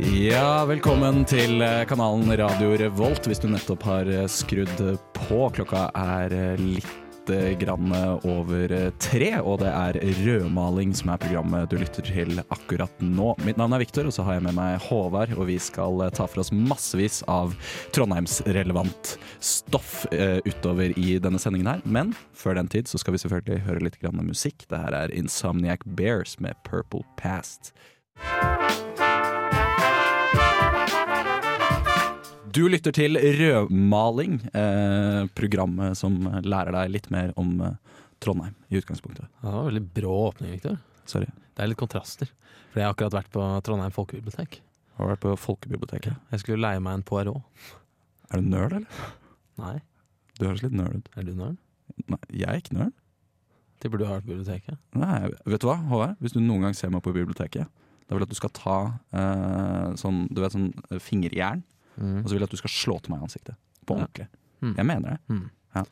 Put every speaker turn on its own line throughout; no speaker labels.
Ja, velkommen til eh, kanalen Radio Revolt. Hvis du nettopp har eh, skrudd på, klokka er eh, litt eh, grann eh, over eh, tre, og det er rødmaling som er programmet du lytter til akkurat nå. Mitt navn er Viktor, og så har jeg med meg Håvard, og vi skal eh, ta for oss massevis av Trondheims-relevant stoff eh, utover i denne sendingen her. Men før den tid så skal vi selvfølgelig høre litt grann musikk. Det her er Insomniac Bears med Purple Past. Du lytter til Rødmaling, eh, programmet som lærer deg litt mer om eh, Trondheim i utgangspunktet.
Ja, det var veldig brå åpning, Victor.
Sorry.
Det er litt kontraster. For jeg har akkurat vært på Trondheim folkebibliotek.
Har du vært på folkebiblioteket?
Jeg skulle leie meg en Poirot.
Er du nerd, eller?
Nei,
Du høres litt nerd ut.
er du nerd?
Nei, jeg er ikke nerd.
Tipper du har vært på biblioteket.
Nei, vet du hva, Håvard? Hvis du noen gang ser meg på biblioteket, da vil jeg at du skal ta eh, sånn, du vet, sånn fingerjern, og
Mm.
så vil jeg at du skal slå til meg i ansiktet. På
Ja.
ordentlig.
Mm.
Jeg mener det.
Mm.
Ja.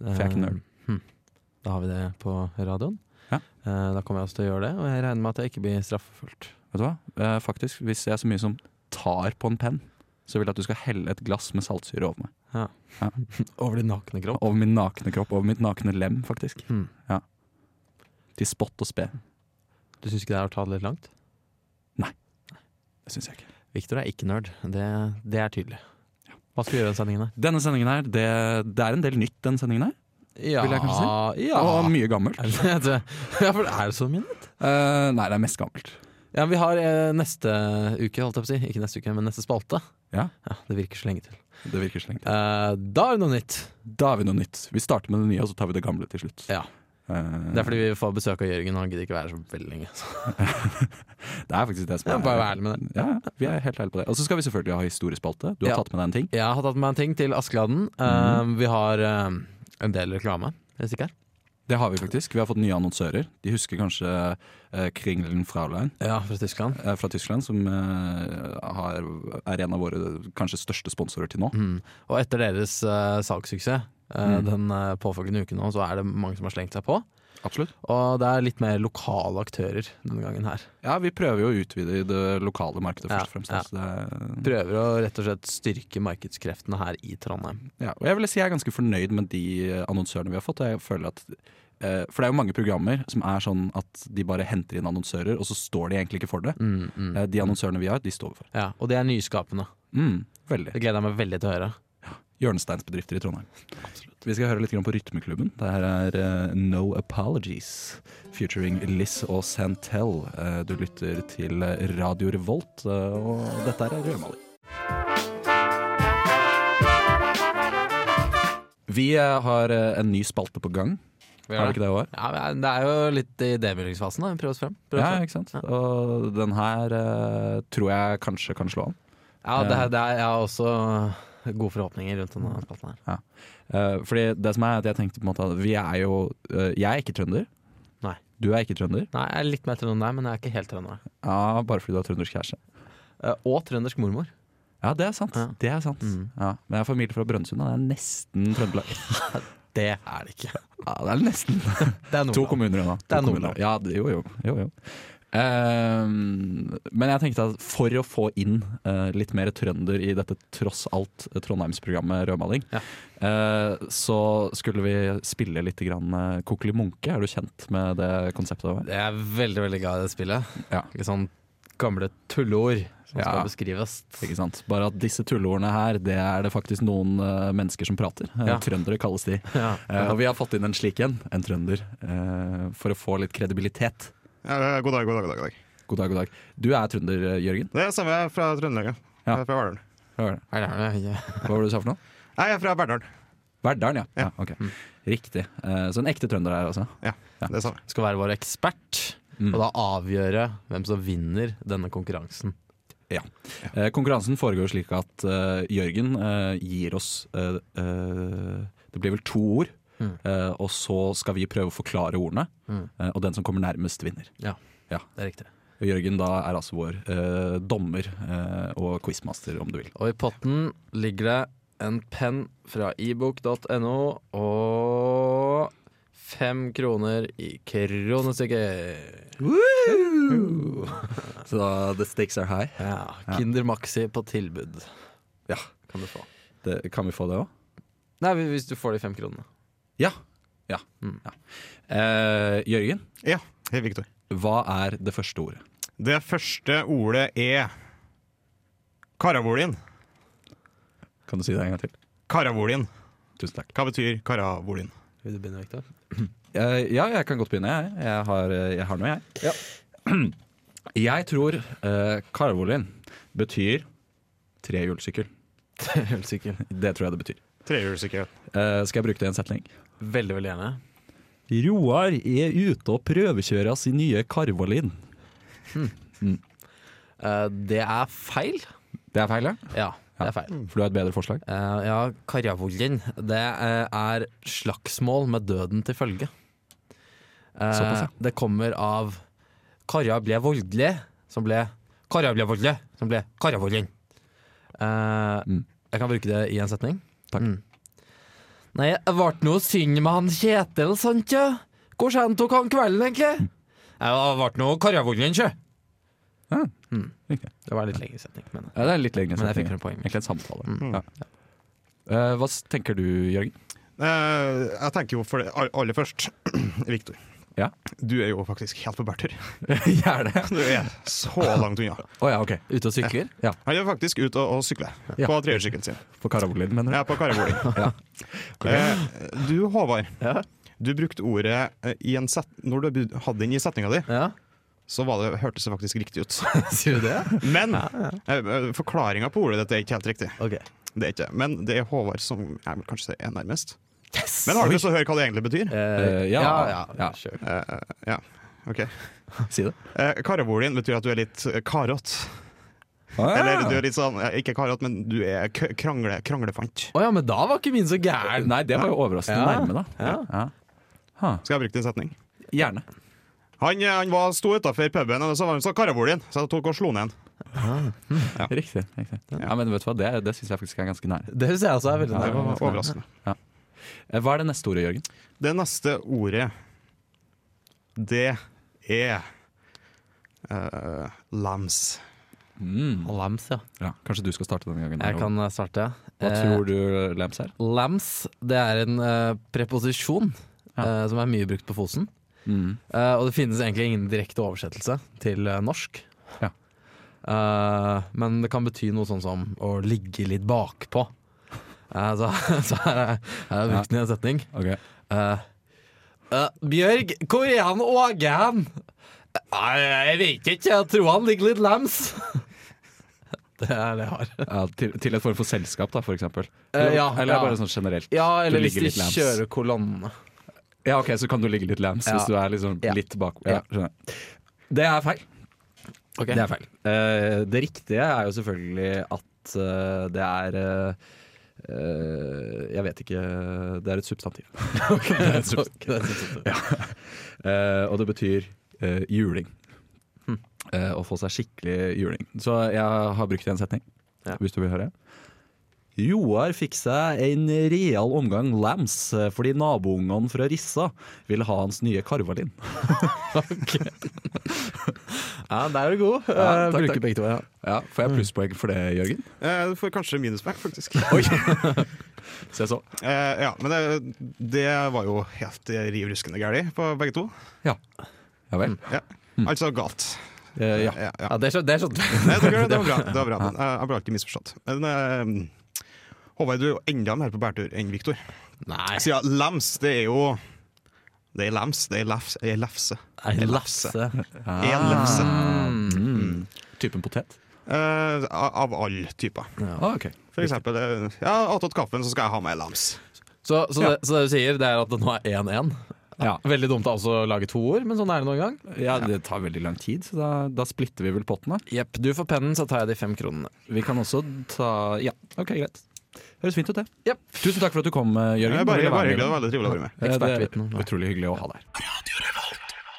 jeg er ikke nerd.
Eh, hm. Da har vi det på radioen.
Ja.
Eh, Da kommer jeg også til å gjøre det, og jeg regner med at jeg ikke blir straffeforfulgt.
Vet du hva? Eh, faktisk, hvis jeg så mye som tar på en penn, så vil jeg at du skal helle et glass med saltsyre over meg.
Over din nakne kropp.
Over min nakne kropp. Over mitt nakne lem, faktisk.
Hm.
Til spott og spe.
Du syns ikke det er å ta det litt langt?
Det syns jeg ikke.
Victor er ikke nerd, det, det er tydelig. Hva skal vi gjøre i den sendingen her?
Denne sendingen her, det, det er en del nytt, denne sendingen her.
Ja,
Vil jeg kanskje
Ja.
Og mye gammelt.
Er det- ja, for er det så mye?
Eh, nei, det er mest gammelt.
Ja, vi har eh, neste uke, holdt jeg på å si. Ikke neste uke, men neste spalte.
Ja.
Det virker så lenge til.
Det virker slengt.
Eh, da er det noe nytt.
Da har vi noe nytt. Vi starter med det nye, og så tar vi det gamle til slutt.
Ja.
Eh,
Det er fordi vi får besøk av Jørgen, og han gidder ikke være her så veldig lenge. Så.
det er faktisk det som
Ja,
er
bare vær ærlig med det.
Ja, ja, vi er helt ærlige på det. Og så skal vi selvfølgelig ha historiespalte. Du har
Ja.
tatt med deg en ting.
Jeg har tatt med en ting til Askeladden. Eh, Vi har eh, en del reklame. Hvis ikke er.
Det har vi faktisk. Vi har fått nye annonsører. De husker kanskje eh, Kringlen Fraulein
Ja, fra Tyskland.
eh, fra Tyskland, som eh, har, er en av våre kanskje største sponsorer til nå.
Mm. Og etter deres eh, salgssuksess eh,
Mm.
den eh, påfølgende uken nå, så er det mange som har slengt seg på.
Absolutt.
Og det er litt mer lokale aktører denne gangen her.
Ja, vi prøver jo å utvide i det lokale markedet
Ja,
først og fremst.
ja.
Så det er,
Prøver å rett og slett styrke markedskreftene her i Trondheim.
ja. Og jeg vil si jeg er ganske fornøyd med de eh, annonsørene vi har fått. og Jeg føler at eh, for det er jo mange programmer som er sånn at de bare henter inn annonsører, og så står de egentlig ikke for det.
Mm, mm.
Eh, De annonsørene vi har, de står vi for.
Ja, og det er nyskapende.
Mm, veldig.
Det gleder jeg meg veldig til å høre.
hjørnesteinsbedrifter i Trondheim. Vi skal høre litt grann på Rytmeklubben. Det her er eh, No Apologies featuring Liz og Santel. Eh, du lytter til Radio Revolt, eh, og dette er Rødmaling. Vi eh, har eh, en ny spalte på gang. Har vi ikke det i år?
Ja, men det er jo litt i debuteringsfasen. da. Prøv oss frem. Prøv oss
Ja,
frem.
ikke sant? Og den her eh, tror jeg kanskje kan slå an.
Ja, det, er- det er, jeg har også gode forhåpninger rundt denne spalten her.
Eh, fordi det som er at jeg tenkte på en måte at vi er jo eh, Jeg er ikke trønder.
Nei.
Du er ikke trønder.
Nei, jeg er litt mer trønder enn deg, men jeg er ikke helt trønder.
Ja, bare fordi du har trøndersk kjæreste.
Eh, Og trøndersk mormor.
Ja, det er sant.
Ja.
Det er sant.
Mm.
Ja. Men jeg har familie fra Brønnøysund, og det er nesten Trøndelag.
Det er det ikke.
ja, det er nesten
Det er
To
Nordland.
kommuner unna.
Det er
To kommuner.
Nordland.
Ja, det- jo, jo. jo, jo. Ehm, men jeg tenkte at for å få inn eh, litt mer trønder i dette tross alt eh, Trondheimsprogrammet Rødmaling,
Ja.
eh, så skulle vi spille litt grann eh, Kokkeli Munke. Er du kjent med det konseptet? Over?
Det er veldig, veldig glad i det spillet.
Ja.
Ikke sånn gamle tulleord som
Ja.
skal beskrives.
Ikke sant? Bare at disse tulleordene her, det er det faktisk noen eh, mennesker som prater. Eh,
Ja.
Trøndere kalles de.
Ja.
Eh, og vi har fått inn en slik en, en trønder, eh, for å få litt kredibilitet.
Ja, ja, ja, god dag, god dag. god dag, god dag.
God dag, god dag. Du er trønder, eh, Jørgen.
Det er samme jeg er fra Trøndelag. Ja.
Ja.
Jeg er fra Verdalen.
Hva var det,
Er det- er det-
Hva var det du sa for noe?
Nei, jeg er fra Verdalen.
Verdalen, ja. ja.
Ja.
ok.
Mm.
Riktig. Eh, så en ekte trønder her, altså. Ja.
Det er samme.
Skal være vår ekspert,
Mm.
og da avgjøre hvem som vinner denne konkurransen.
Eh, konkurransen foregår slik at eh, Jørgen eh, gir oss eh, eh, Det blir vel to ord.
Mm.
eh, og så skal vi prøve å forklare ordene,
Mm.
eh, og den som kommer nærmest, vinner.
Det er riktig.
Og Jørgen da er altså vår eh, dommer eh, og quizmaster, om du vil.
Og i potten ligger det en penn fra ebook.no og Fem kroner i kronestykket.
Så da, the stakes are high.
Ja, Kinder Maxi på tilbud
Ja,
kan du få.
det, Kan vi få det òg?
Nei, hvis du får de fem kronene.
Ja. ja.
Mm.
ja. Eh, Jørgen,
Ja, hei, Victor.
hva er det første ordet?
Det første ordet er Karavolin.
Kan du si det en gang til?
Karavolin.
Tusen takk.
Hva betyr karavolin?
Vil du begynne, Victor?
Eh, ja, jeg kan godt begynne. Jeg, jeg, har, eh, jeg har noe, jeg. Jeg tror uh, Karvolin betyr trehjulssykkel.
Helt sikkert.
Det tror jeg det betyr.
Trehjulssykkel.
Eh, skal jeg bruke det i en setning?
Veldig, veldig gjerne.
Roar er ute og prøvekjører sin nye Karvolin.
Eh, det er feil.
Det er feil, ja?
Ja, det er feil.
For du har et bedre forslag?
Eh, ja, Karjavoljen. Det eh, er slagsmål med døden til følge. Eh,
Såpass, ja.
Det kommer av Karja ble voldelig, som ble Karja ble voldelig, som ble Karjavoljen. Eh,
Mm.
Jeg kan bruke det i en setning.
Takk.
Mm. Nei, det ble noe synd med han Kjetil, sant ja? Hvor sen tok han kvelden, egentlig? Nei, Det ble noe Karjavoljen, sjø.
Ja,
Mm.
riktig.
Det var en litt lengre setning, men
Ja, det er litt lengre
Men jeg
setning.
fikk frem poenget.
Egentlig en samtale.
Mm.
Ja. Eh, hva s- tenker du, Jørgen?
Eh, jeg tenker jo for det all- aller først, Victor.
Ja.
Du er jo faktisk helt på bærtur.
Gjerne.
Du er så langt unna.
Å ja, ok.
ute og sykler.
Han er faktisk ute og, og sykler
Ja.
på trehjulssykkelen sin.
På Karavolin, mener du?
Jeg er på Karavolin.
Ja.
Eh, du, Håvard.
Ja.
Du brukte ordet eh, i en set Når du bud- hadde den i setninga di,
Ja,
så var det, hørtes det faktisk riktig ut.
sier du det?
Men forklaringa på ordet ditt er ikke helt riktig.
Ok.
Det er ikke. det. Men det er Håvard som jeg vil kanskje si er nærmest.
Yes!
Men har du lyst til å høre hva det egentlig betyr?
Eh, ja, ja.
Kjør.
Eh, ja, OK.
Si det.
Eh, Karavolin betyr at du er litt eh, karot.
Ah,
Eller du er litt sånn eh, Ikke karot, men du er k krangle, kranglefant.
Å ja, men da var ikke min så gæren.
Nei, det var jo overraskende
Ja.
nærme, da.
Ja.
Ha.
Skal jeg bruke din setning?
Gjerne.
Han, eh, han var, sto utafor puben, og så var han så Karavolin, så jeg tok og slo ned han.
Riktig. riktig. Ja, men vet du hva, Det, det syns jeg faktisk er ganske nære.
Det syns jeg også er veldig
Det
nærme.
var overraskende.
Eh, Hva er det neste ordet, Jørgen?
Det neste ordet, det er eh, lams.
Mm.
Lams, ja.
Ja, kanskje du skal starte denne gangen.
Jeg kan eh, starte.
Hva tror du Lams er?
Lams, det er en eh, preposisjon
Ja.
eh, som er mye brukt på Fosen. Eh, og det finnes egentlig ingen direkte oversettelse til eh, norsk.
Ja.
Eh, men det kan bety noe sånn som å ligge litt bakpå. Eh, så, så her er, her er brukt den i en setning.
Ok.
Eh, eh, Bjørg, hvor er han Åge hen? Nei, jeg vet ikke, jeg tror han ligger litt lems. det er det jeg har.
Ja, til, til et form for selskap, da, for eksempel.
Eh,
Eller,
ja,
eller
ja.
bare sånn generelt.
Ja, eller
Du
hvis
ligger
de
litt lams.
kjører kolonnene.
Ja, ok, Så kan du ligge litt lams
Ja.
hvis du er liksom
Ja.
litt bak.
Ja.
Ja, skjønner jeg. det er feil. Det er feil. Eh, det riktige er jo selvfølgelig at eh, det er eh, eh, Jeg vet ikke Det er et substantiv. det er et substantiv.
Ok, det er sant.
Eh, og det betyr eh, juling.
Hm.
Eh, å få seg skikkelig juling. Så jeg har brukt en setning,
Ja.
hvis du vil høre. Joar fikk seg en real omgang lams eh, fordi naboungene fra Rissa ville ha hans nye karvalin.
Ja, der er du god.
Ja,
Eh,
takk,
bruker
takk.
begge to. Ja.
Ja, Får jeg plusspoeng for det, Jørgen?
Eh, du får kanskje minuspoeng, faktisk.
Se så.
Eh, ja, men det, det var jo helt riv ruskende gærent på begge to.
Ja vel.
Ja. Altså galt.
Eh, ja.
Ja, ja.
Ja, det sånn- skjønte det skjønte jeg.
Nei, det, var- det var bra. Det var bra. men, eh, jeg ble alltid misforstått. Men eh, Håvard, du er jo enda mer på bærtur enn Viktor.
Nei,
Siden lams, det er jo Det er lams, det er lefse. Er lefse.
ei
En
lefse.
Hm.
En
Ah.
lefse.
Mm. Typen potet?
Eh, av alle typer.
Ah, ok.
For eksempel, eh, ja, attåt kaffen, så skal jeg ha meg lams.
Så, så, det, så det du sier, det er at det nå er 1-1.
Ja.
Veldig dumt av oss å lage to ord, men sånn er det noen gang.
ja, det tar veldig lang tid, så da, da splitter vi vel potten, da.
Jepp, du får pennen, så tar jeg de fem kronene.
Vi kan også ta Ja, ok, greit. Høres fint ut, det.
Jepp.
Tusen takk for at du kom, eh,
Det
Jørgen.
er bare,
Det var veldig
bare hyggelig. Det var veldig trivelig å være med.
Eh, Det
Ekspertviten.
er utrolig hyggelig å ha deg her.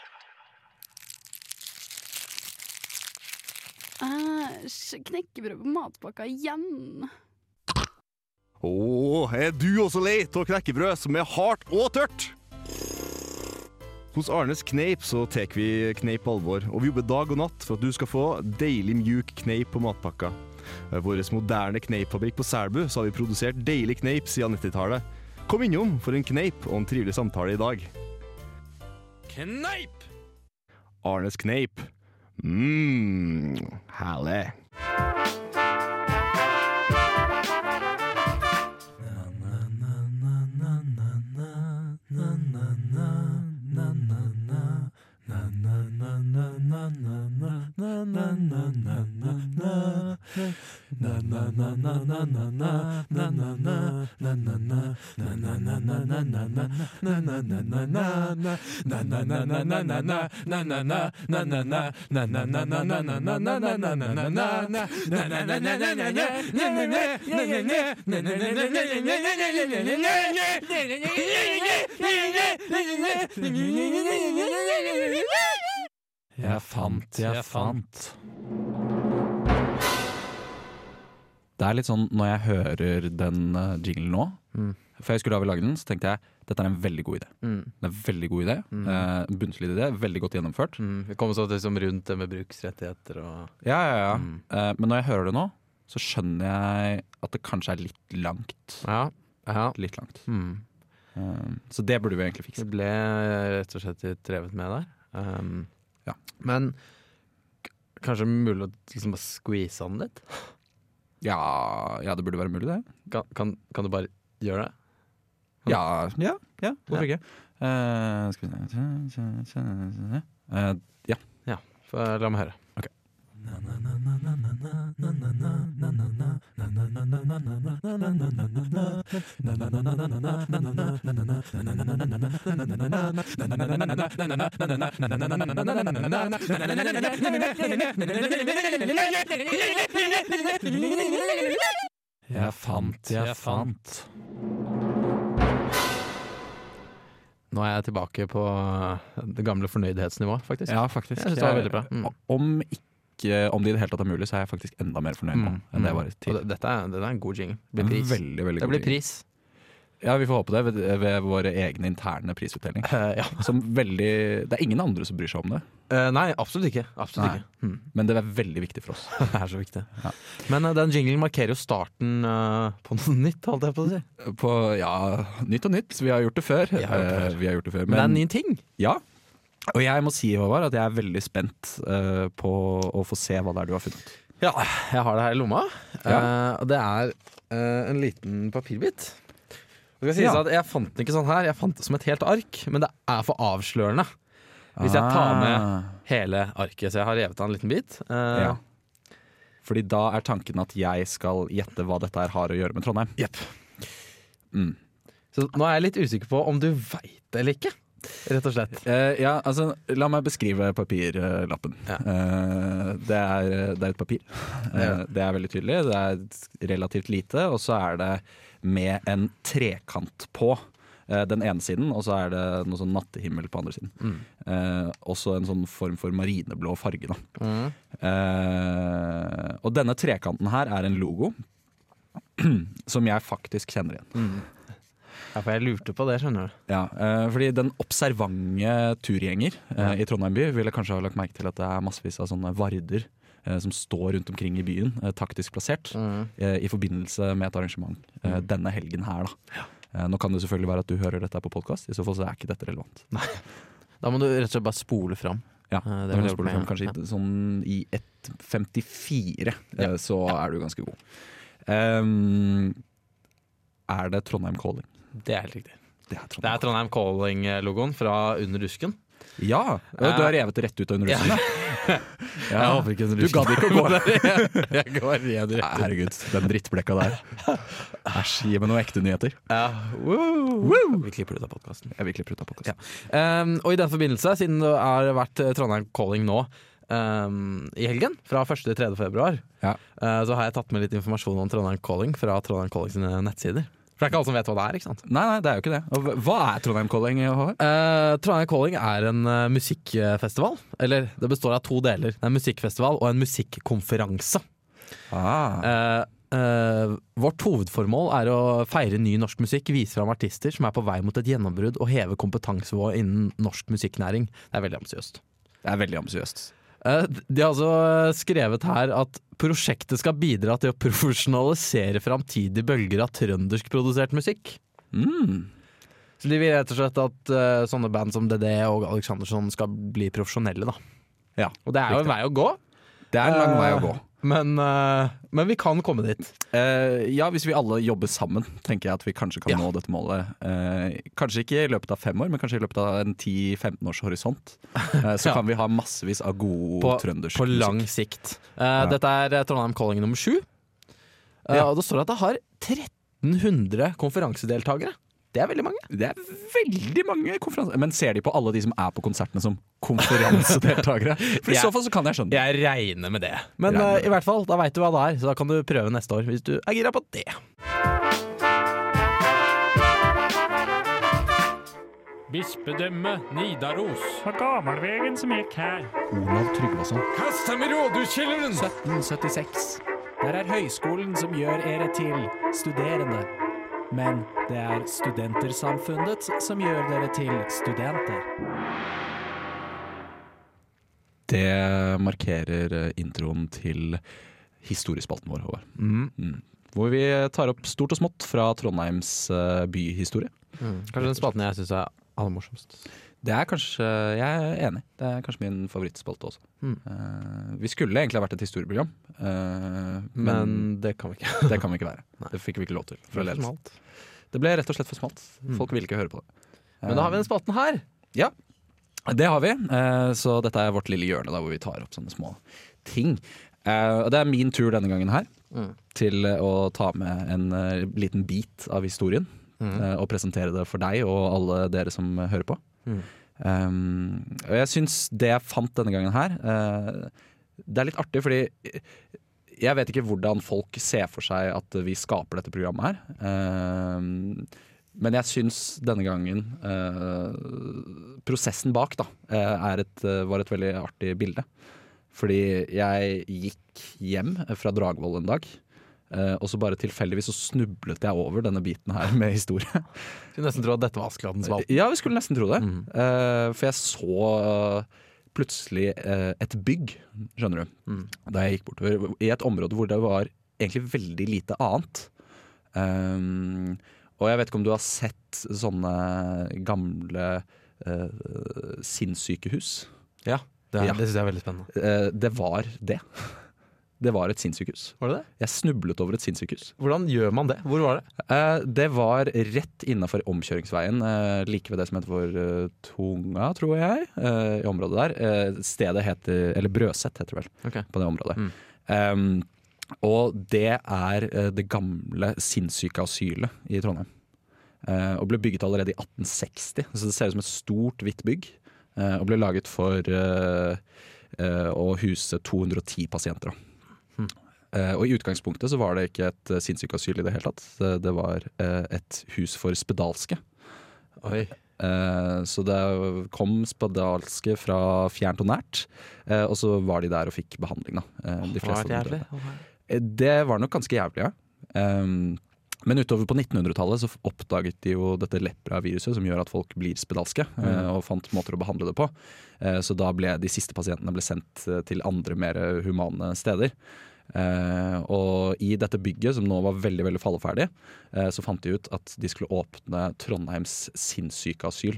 Æsj, Eh, knekkebrød på matpakka igjen.
Å, er du også lei av knekkebrød som er hardt og tørt? Hos Arnes Kneip så tar vi kneip på alvor, og vi jobber dag og natt for at du skal få deilig mjuk kneip på matpakka. Ved vår moderne kneipfabrikk på Selbu så har vi produsert deilig kneip siden 90-tallet. Kom innom for en kneip og en trivelig samtale i dag.
Kneip!
Arnes Kneip. Mm, herlig.
Jeg fant, jeg fant.
Det er litt sånn når jeg hører den eh, jinglen nå Før jeg skulle ha lage den, så tenkte jeg dette er en veldig god idé.
Mm,
Det er en veldig god idé, eh, Bunnsolid idé, veldig godt gjennomført.
Vi kom så liksom rundt det med bruksrettigheter og
Ja, ja, ja. Eh, men når jeg hører det nå, så skjønner jeg at det kanskje er litt langt.
Ja. ja.
Litt langt.
Mm.
Eh, så det burde vi egentlig fikse.
Det ble eh, rett og slett litt drevet med der. Um,
Ja.
Men k- kanskje mulig å liksom bare squeeze han litt?
Ja, ja det burde være mulig, det.
Kan, kan, kan du bare gjøre det?
Ja, ja, ja hvorfor ikke? Eh, skal vi se Eh, Ja.
Få- La meg høre.
Ok.
Jeg fant, jeg fant. Nå er jeg tilbake på eh, det gamle fornøydhetsnivået, faktisk.
Ja, faktisk.
Jeg synes det var veldig bra. Mm.
Om ikke om det i det hele tatt er mulig, så er jeg faktisk enda mer fornøyd nå
Mm.
enn det jeg var i
Og
tid.
det, dette er, dette er en god jingle. Det blir pris.
Veldig, veldig
Det
god
blir
ting.
pris.
Ja, vi får håpe det ved, ved våre egne interne prisutdeling.
Eh, ja.
Som veldig Det er ingen andre som bryr seg om det,
Eh, nei, absolutt ikke. Absolutt
Nei.
ikke. Mm.
men det er veldig viktig for oss.
Det er så viktig.
Ja.
Men eh, den jinglen markerer jo starten eh, på noe nytt, holdt jeg på å si.
På ja, nytt og nytt. Vi har gjort det før.
Vi har gjort det før.
Eh, Vi har gjort det før.
Men det er en ny ting.
Ja. Og jeg må si Håvard, at jeg er veldig spent eh, på å få se hva det er du har funnet.
Ja, jeg har det her i lomma. Eh, og det er eh, en liten papirbit. Og Det skal sies
Ja.
at Jeg fant den ikke sånn her, jeg fant det som et helt ark, men det er for avslørende. Hvis jeg tar med hele arket, så jeg har revet av en liten bit. Eh,
Ja. Fordi da er tanken at jeg skal gjette hva dette her har å gjøre med Trondheim.
Jepp.
Mm.
Så nå er jeg litt usikker på om du veit det eller ikke, rett og slett.
Eh, ja, altså, la meg beskrive papirlappen.
Ja.
Eh, det, er, det er et papir. Eh, det er veldig tydelig. Det er relativt lite, og så er det med en trekant på. eh, Den ene siden, og så er det noe sånn nattehimmel på andre siden.
Mm.
Eh, også en sånn form for marineblå farge. Da.
Mm.
Eh, og denne trekanten her er en logo som jeg faktisk kjenner igjen.
Mm. Ja, for jeg lurte på det, skjønner du.
Ja, eh, fordi den observante turgjenger eh, i Trondheim by ville kanskje ha lagt merke til at det er massevis av sånne varder eh, som står rundt omkring i byen, eh, taktisk plassert,
Mm.
eh, i forbindelse med et arrangement eh, denne helgen her, da. Eh, nå kan det selvfølgelig være at du hører dette på podkast, i så fall så er ikke dette relevant.
Da må du rett og slett bare spole fram.
Ja,
Eh,
det
det vil jeg
spole
gjøre
frem,
på
kanskje
meg,
i- sånn i 1,54 eh, så er du ganske god. Ehm, er det Trondheim Calling?
Det er helt riktig.
Det er
Det er
Trondheim.
Trondheim Calling-logoen fra Under rusken.
Ja! Du har revet det rett ut av undervisningen. Ja.
Jeg håper ikke Under
Du
rusken.
gadd ikke å gå
der. Jeg går igjen
Nei, Herregud, den drittblekka der. Æsj, gi meg noen ekte nyheter.
Ja. Woo! Vi klipper det ut av podkasten.
Jeg vil klippe ut av podkasten.
og i den forbindelse, siden det har vært eh, Trondheim Calling nå ehm, i helgen, fra 1. til 3. februar,
Ja.
eh, så har jeg tatt med litt informasjon om Trondheim Calling fra Trondheim Calling sine nettsider. For det er ikke alle som vet hva det er, ikke sant?
Nei, nei, det er jo ikke det. Og hva- hva er Trondheim Calling? Håvard?
Eh, Trondheim Calling er en eh, musikkfestival. Eller det består av to deler. Det er en musikkfestival og en musikkonferanse.
Ah.
Eh, Eh, vårt hovedformål er å feire ny norsk musikk, vise fram artister som er på vei mot et gjennombrudd og heve kompetansenivået innen norsk musikknæring. Det er veldig ambisiøst.
Det er veldig ambisiøst.
Eh, De har altså skrevet her at prosjektet skal bidra til å profesjonalisere framtidige bølger av trønderskprodusert musikk.
Mm.
Så de vil rett og slett at eh, sånne band som DD og Aleksandersson skal bli profesjonelle, da.
Ja,
og det er jo en vei å gå,
Det er en lang vei å gå.
men, eh, men vi kan komme dit.
Eh, ja, hvis vi alle jobber sammen, tenker jeg at vi kanskje kan
Ja.
nå dette målet. Eh, kanskje ikke i løpet av fem år, men kanskje i løpet av en 10-15 års horisont. Eh, så
Ja.
kan vi ha massevis av god
På,
trøndersk
på
musikk.
lang sikt. Eh, Dette er eh, Trondheim Calling nummer sju. Eh,
Ja.
Og det står at det har 1300 konferansedeltakere. Det er veldig mange.
Det er veldig mange konferanser. Men ser de på alle de som er på konsertene som konferansedeltakere? For i
Ja.
så fall så kan jeg skjønne det.
Jeg regner med det. Men
Regner med
eh, i hvert fall, da veit du hva det er, så da kan du prøve neste år hvis du er gira på det.
Bispedømme Nidaros.
På gammelvegen som gikk her.
Olav Tryggvason.
Kast dem i rådhuskjelleren!
1976. Der er høyskolen som gjør dere til studerende. Men det er studentersamfunnet som gjør dere til studenter.
Det markerer eh, introen til historiespalten vår, Håvard. Mm. Hvor vi tar opp stort og smått fra Trondheims eh, byhistorie.
Mm. Kanskje den spalten jeg syns er aller morsomst.
Det er kanskje, Jeg er enig. Det er kanskje min favorittspalte også.
Mm.
Eh, vi skulle egentlig ha vært et historieprogram, eh,
Men
men
det kan vi ikke.
det kan vi ikke være.
Nei.
Det fikk vi ikke lov til. Fra
Det er for
ledelsen.
smalt.
det ble rett og slett for smalt. Folk ville ikke høre på det.
Men da har vi den spalten her.
Det har vi. eh, Så dette er vårt lille hjørne da, hvor vi tar opp sånne små ting. Eh, Og det er min tur denne gangen her
Mm.
til eh, å ta med en eh, liten bit av historien. eh, Og presentere det for deg og alle dere som eh, hører på.
Mm.
Um, og jeg syns det jeg fant denne gangen her, eh, det er litt artig fordi jeg vet ikke hvordan folk ser for seg at vi skaper dette programmet her. Um, men jeg syns denne gangen eh, prosessen bak da, eh, er et, eh, var et veldig artig bilde. Fordi jeg gikk hjem fra Dragvoll en dag, eh, og så bare tilfeldigvis så snublet jeg over denne biten her med historie.
Skulle nesten tro at dette var Askeladden spalt.
Ja, vi skulle nesten tro det.
Mm.
Eh, for jeg så eh, plutselig eh, et bygg, skjønner du,
Mm.
da jeg gikk bortover. I et område hvor det var egentlig veldig lite annet. Um, og jeg vet ikke om du har sett sånne gamle eh, sinnssykehus?
Det,
Ja.
det syns jeg er veldig spennende.
Eh, det var det. Det var et sinnssykehus.
Var det det?
Jeg snublet over et sinnssykehus.
Hvordan gjør man det? Hvor var det?
Eh, det var rett innafor omkjøringsveien, eh, like ved det som heter for eh, Tunga, tror jeg, eh, i området der. Eh, stedet heter Eller Brøset heter det vel,
Ok.
på det området.
Mm.
Em, og det er eh, det gamle sinnssyke asylet i Trondheim. Eh, og ble bygget allerede i 1860, så det ser ut som et stort, hvitt bygg. eh, og ble laget for eh, eh, å huse 210 pasienter. da. Eh, Og I utgangspunktet så var det ikke et eh, sinnssykeasyl i det hele tatt. Det, det var eh, et hus for spedalske.
Oi.
Eh, Så det kom spedalske fra fjernt og nært, eh, og så var de der og fikk behandling. Da. Eh, de fleste av dem døde. Eh, Det var nok ganske jævlig, ja. Ehm, men utover på 1900-tallet så f- oppdaget de jo dette lepraviruset som gjør at folk blir spedalske, eh, og fant måter å behandle det på. Eh, Så da ble de siste pasientene ble sendt eh, til andre mer eh, humane steder. Eh, og i dette bygget, som nå var veldig veldig falleferdig, eh, så fant de ut at de skulle åpne Trondheims sinnssykeasyl.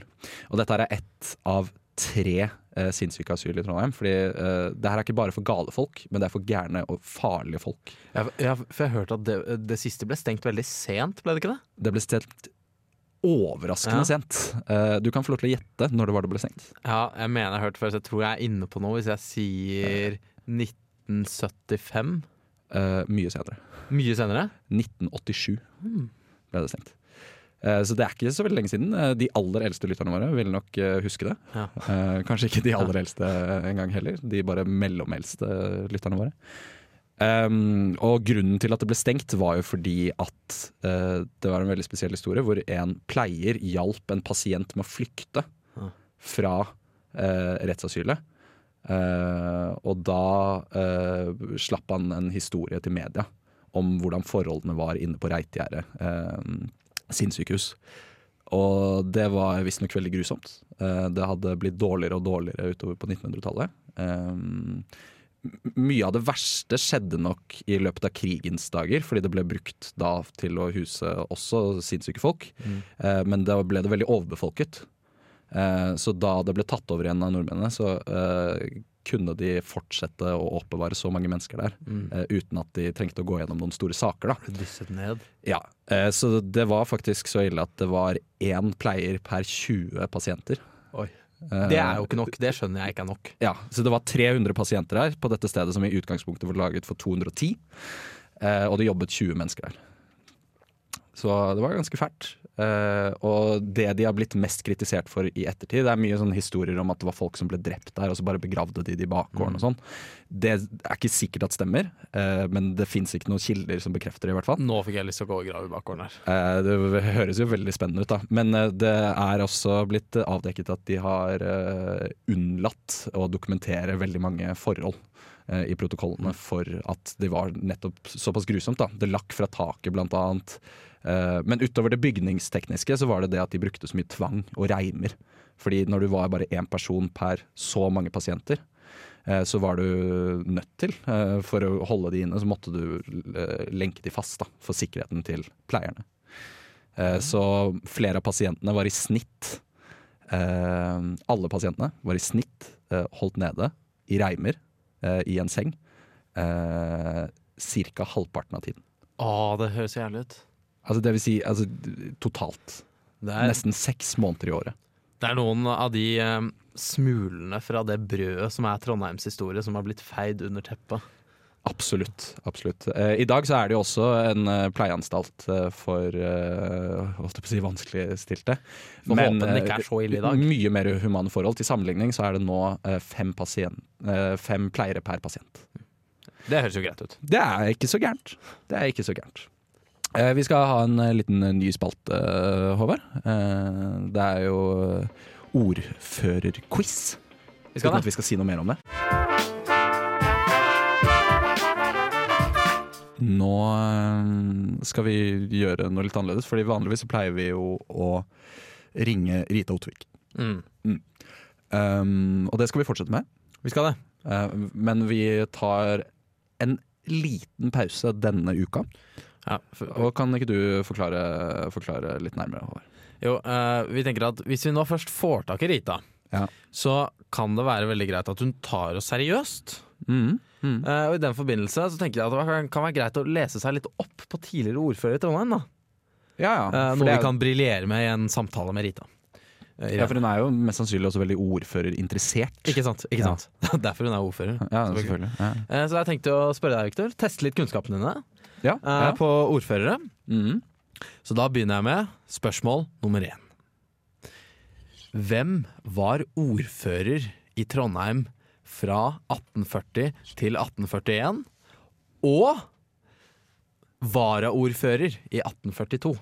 Og dette her er ett av tre eh, sinnssykeasyl i Trondheim. Fordi eh, det her er ikke bare for gale folk, men det er for gærne og farlige folk.
Ja, ja, for jeg hørte at det, det siste ble stengt veldig sent, ble det ikke det?
Det ble stelt overraskende
Ja.
sent. Eh, du kan få lov til å gjette når det var det ble stengt.
Ja, jeg mener jeg har hørt før, så jeg tror jeg er inne på noe hvis jeg sier 1975.
Eh, mye senere.
Mye senere.
1987
Mm.
ble det stengt. Eh, Så det er ikke så veldig lenge siden. Eh, De aller eldste lytterne våre vil nok eh, huske det.
Ja.
Eh, Kanskje ikke de aller eldste engang heller. De bare mellomeldste eh, lytterne våre. Um, og grunnen til at det ble stengt var jo fordi at eh, det var en veldig spesiell historie hvor en pleier hjalp en pasient med å flykte
Ja.
fra eh, rettsasylet. Eh, og da eh, slapp han en historie til media om hvordan forholdene var inne på Reitgjerdet eh, sinnssykehus. Og det var visstnok veldig grusomt. Eh, det hadde blitt dårligere og dårligere utover på 1900-tallet. Eh, m- mye av det verste skjedde nok i løpet av krigens dager, fordi det ble brukt da til å huse også sinnssyke folk.
Mm,
Eh, men da ble det veldig overbefolket. Eh, så da det ble tatt over igjen av nordmennene, så eh, kunne de fortsette å oppbevare så mange mennesker der
mm.
eh, uten at de trengte å gå gjennom noen store saker. da.
Dysset ned.
Ja, eh, så det var faktisk så ille at det var én pleier per 20 pasienter.
Oi.
Eh,
Det er jo ikke nok. Det skjønner jeg ikke er nok.
Ja, så det var 300 pasienter her på dette stedet som i utgangspunktet var laget for 210. Eh, og det jobbet 20 mennesker der. Så det var ganske fælt. Eh, og det de har blitt mest kritisert for i ettertid, det er mye sånne historier om at det var folk som ble drept der, og så bare begravde de de i bakgården og sånn. Det er ikke sikkert at stemmer, eh, men det fins ikke noen kilder som bekrefter det, i hvert fall.
Nå fikk jeg lyst til å gå og grave i bakgården her.
Eh, Det høres jo veldig spennende ut, da. Men eh, det er også blitt eh, avdekket at de har eh, unnlatt å dokumentere veldig mange forhold eh, i protokollene for at de var nettopp såpass grusomt. da. Det lakk fra taket, blant annet. Eh, Men utover det bygningstekniske så var det det at de brukte så mye tvang og reimer. Fordi når du var bare én person per så mange pasienter, eh, så var du nødt til, eh, for å holde de inne, så måtte du eh, lenke de fast da, for sikkerheten til pleierne. Eh,
Mm.
Så flere av pasientene var i snitt eh, Alle pasientene var i snitt eh, holdt nede i reimer eh, i en seng eh, ca. halvparten av tiden.
Å, det høres så jævlig ut.
Altså det vil si altså, totalt.
Det er,
Nesten seks måneder i året.
det er noen av de eh, smulene fra det brødet som er Trondheims historie, som har blitt feid under teppet.
Absolutt. absolutt. Eh, I dag så er det jo også en eh, pleieanstalt eh, for eh, holdt jeg på å si vanskeligstilte.
Får håpe den ikke er så ille i dag.
eh, mye mer humane forhold. Til sammenligning så er det nå eh, fem, pasient, eh, fem pleiere per pasient.
Det høres jo greit ut.
Det er ikke så gærent. Det er ikke så gærent. Eh, Vi skal ha en eh, liten eh, ny spalte, eh, Håvard. Eh, Det er jo eh, ordførerquiz.
Vi skal
Uten
det.
at vi skal si noe mer om det. Nå eh, skal vi gjøre noe litt annerledes, fordi vanligvis så pleier vi jo å ringe Rita Otvik.
Mm.
Um, og det skal vi fortsette med.
Vi skal det.
Eh, men vi tar en liten pause denne uka.
Ja, for,
Og kan ikke du forklare, forklare litt nærmere? Håvard?
Jo, eh, vi tenker at hvis vi nå først får tak i Rita,
Ja.
så kan det være veldig greit at hun tar oss seriøst. Eh, og i den forbindelse så tenker jeg at det var- kan være greit å lese seg litt opp på tidligere ordfører i Trondheim. da.
Ja, ja.
Eh,
for,
noe
det
vi
er-
kan briljere med i en samtale med Rita. Eh, Irene.
ja, for hun er jo mest sannsynlig også veldig ordførerinteressert.
Ikke sant? ikke sant? Derfor hun er ordfører.
Ja, selvfølgelig. Ja,
Eh, så jeg tenkte å spørre deg, Victor, teste litt kunnskapene dine eh,
ja. ja.
på ordførere.
Mhm.
Så da begynner jeg med spørsmål nummer én. Hvem var ordfører i Trondheim fra 1840 til 1841? Og varaordfører i 1842?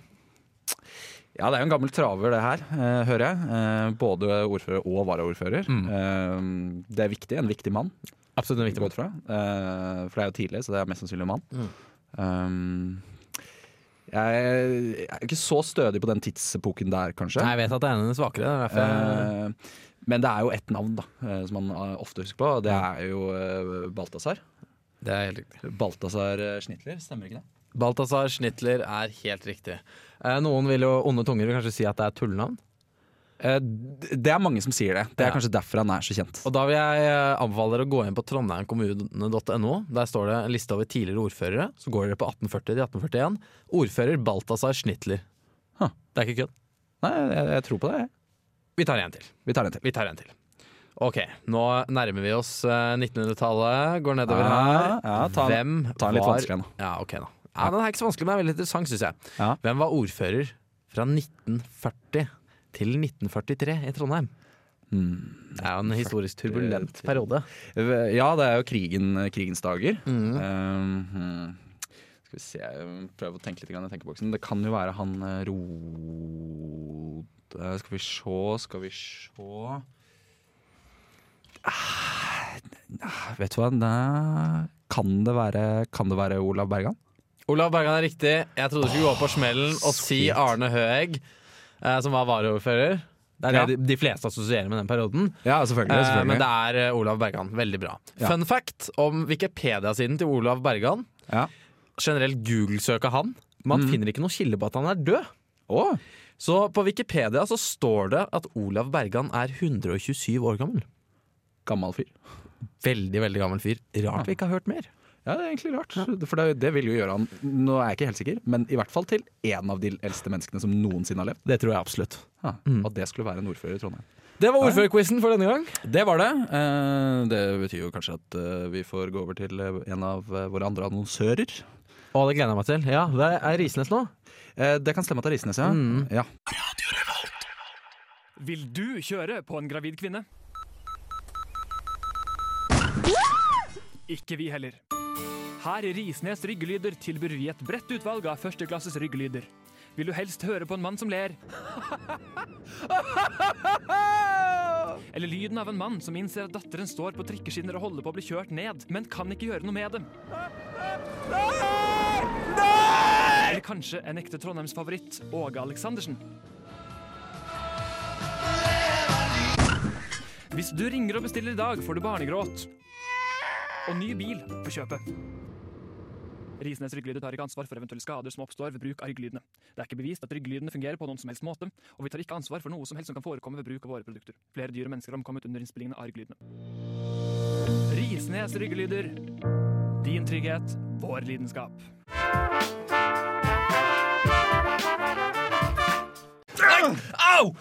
Ja, det er jo en gammel traver det her, eh, hører jeg. Eh, både ordfører og varaordfører.
Mm.
Eh, det er viktig, en viktig mann.
Absolutt en viktig
Godt fra. Eh, for det er jo tidlig, så det er mest sannsynlig en mann. Um, jeg er ikke så stødig på den tidsepoken der, kanskje.
Nei, jeg vet at det er en av de svakere. Det er derfor jeg-
Eh, men det er jo ett navn da, eh, som man eh, ofte husker på. og Det er jo eh, Balthazar.
det er helt riktig.
Balthazar eh, Schnitler, stemmer ikke det?
Balthazar Schnitler er helt riktig. Eh, noen vil jo, onde tunger vil kanskje si at det er tullenavn.
Eh, d- det er mange som sier det. Det er
Ja.
kanskje derfor han er så kjent.
Og da vil jeg eh, anbefale dere å gå inn på trondheimkommune.no. Der står det en liste over tidligere ordførere. Så går dere på 1840 til 1841. Ordfører Balthazar Schnitler.
Huh.
Det er ikke kødd.
Nei, jeg, jeg tror på det. jeg.
Vi tar en til.
Vi tar en til.
Vi tar en til. Ok, nå nærmer vi oss eh, 1900-tallet. Går nedover her.
Ja, ja, Ah. ta den-
Hvem
ta den litt
var...
vanskelig en, da.
Ja, ok da. Ja, den er ikke så vanskelig, men den er veldig interessant, syns jeg.
Ja.
Hvem var ordfører fra 1940 til 1943 i Trondheim?
Hmm.
Det er jo en historisk turbulent periode.
Ja, det er jo krigen, krigens dager. Um, hmm. skal vi se, jeg prøver å tenke litt grann i tenkeboksen. Det kan jo være han eh, Rode Skal vi se, skal vi se ah, nei, Vet du hva, nei. Kan det være, kan det være Olav Bergan?
Olav Bergan er riktig. Jeg trodde du skulle gå opp på smellen og si Arne Høeg, eh, som var varaordfører. Det er det
Ja.
de, de fleste assosierer med den perioden.
Ja, selvfølgelig.
Eh, men
selvfølgelig.
det er eh, Olav Bergan. Veldig bra.
Ja.
Fun fact om Wikipedia-siden til Olav Bergan.
Ja.
Generelt Google-søk av han. Man finner ikke noen kilde på at han er død.
Å,
Så på Wikipedia så står det at Olav Bergan er 127 år gammel.
gammel fyr.
Veldig, veldig gammel fyr. Rart vi ikke har hørt mer.
Ja, det er egentlig rart. For det, det vil jo gjøre han Nå er jeg ikke helt sikker, men i hvert fall til én av de eldste menneskene som noensinne har levd.
Det tror jeg absolutt.
Ja, At det skulle være en ordfører i Trondheim.
Det var ordførerquizen for denne gang.
Det var det. Eh, Det betyr jo kanskje at eh, vi får gå over til eh, en av eh, våre andre annonsører.
Å, det gleder jeg meg til. Ja, det er Risnes nå.
Eh, Det kan stemme at det er Risnes, ja. ja.
Vil du kjøre på en gravid kvinne? Ikke vi heller. Her i Risnes ryggelyder tilbyr vi et bredt utvalg av førsteklasses ryggelyder. Vil du helst høre på en mann som ler? Eller lyden av en mann som innser at datteren står på trikkeskinner og holder på å bli kjørt ned, men kan ikke gjøre noe med det. Eller kanskje en ekte Trondheimsfavoritt, Åge Aleksandersen. Hvis du ringer og bestiller i dag, får du barnegråt. Og ny bil på kjøpet. Risnes ryggelyder tar ikke ansvar for eventuelle skader som oppstår ved bruk av ryggelydene. Det er ikke bevist at ryggelydene fungerer på noen som helst måte, og vi tar ikke ansvar for noe som helst som kan forekomme ved bruk av våre produkter. Flere dyr og mennesker har omkommet under innspillingene av ryggelydene. Risnes ryggelyder. Din trygghet, vår lidenskap.
Au!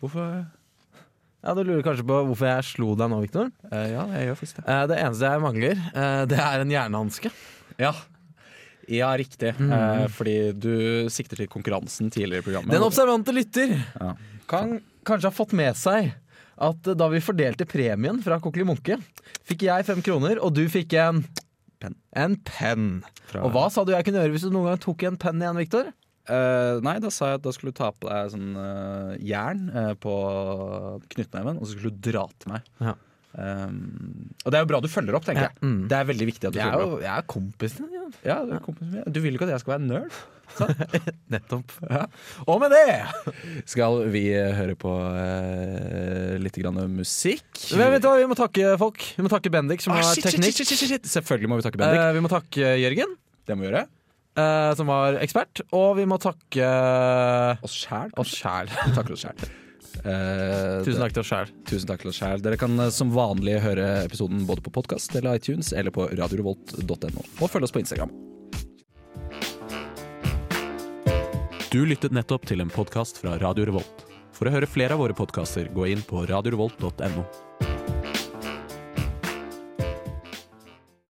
Hvorfor
Ja, Du lurer kanskje på hvorfor jeg slo deg nå, Victor.
Eh, Ja, jeg gjør faktisk det.
Eh, det eneste jeg mangler, eh, det er en Mm. jernhanske.
Ja. Ja, riktig. Eh, fordi du sikter til konkurransen tidligere i programmet.
Den observante lytter
Ja.
kan kanskje ha fått med seg at eh, da vi fordelte premien fra Kokkeli Munke, fikk jeg fem kroner, og du fikk en
Penn.
En penn.
Fra-
Og hva sa du jeg kunne gjøre hvis du noen gang tok en penn igjen, Victor?
Eh, nei, da sa jeg at da skulle du ta på deg sånn eh, jern eh, på knyttneven, og så skulle du dra til meg.
Ja.
Um, og det er jo bra du følger opp, tenker
Ja, mm.
jeg. Det er veldig viktig at du
Jeg er
følger opp.
jo jeg er kompisen din. Ja.
Ja, du, er kompisen min. du vil jo ikke at jeg skal være nerd.
Nettopp.
Og med det skal vi eh, høre på eh, litt grann musikk.
Men vet du hva, vi må takke folk. Vi må takke Bendik, som
Ah,
har
shit, shit, shit,
teknikk.
shit, shit, shit. Selvfølgelig må vi takke Bendik.
Eh, vi må takke Jørgen.
det må vi gjøre.
eh, som var ekspert. Og vi må takke eh,
Oss sjæl.
oss sjæl.
Takker oss sjæl. Eh,
Tusen takk til oss sjæl.
Tusen takk til oss selv. Dere kan eh, som vanlig høre episoden både på podkast eller iTunes eller på radiorevolt.no. Og følg oss på Instagram.
Du lyttet nettopp til en podkast fra Radio Revolt. For å høre flere av våre podkaster, gå inn på radiorevolt.no.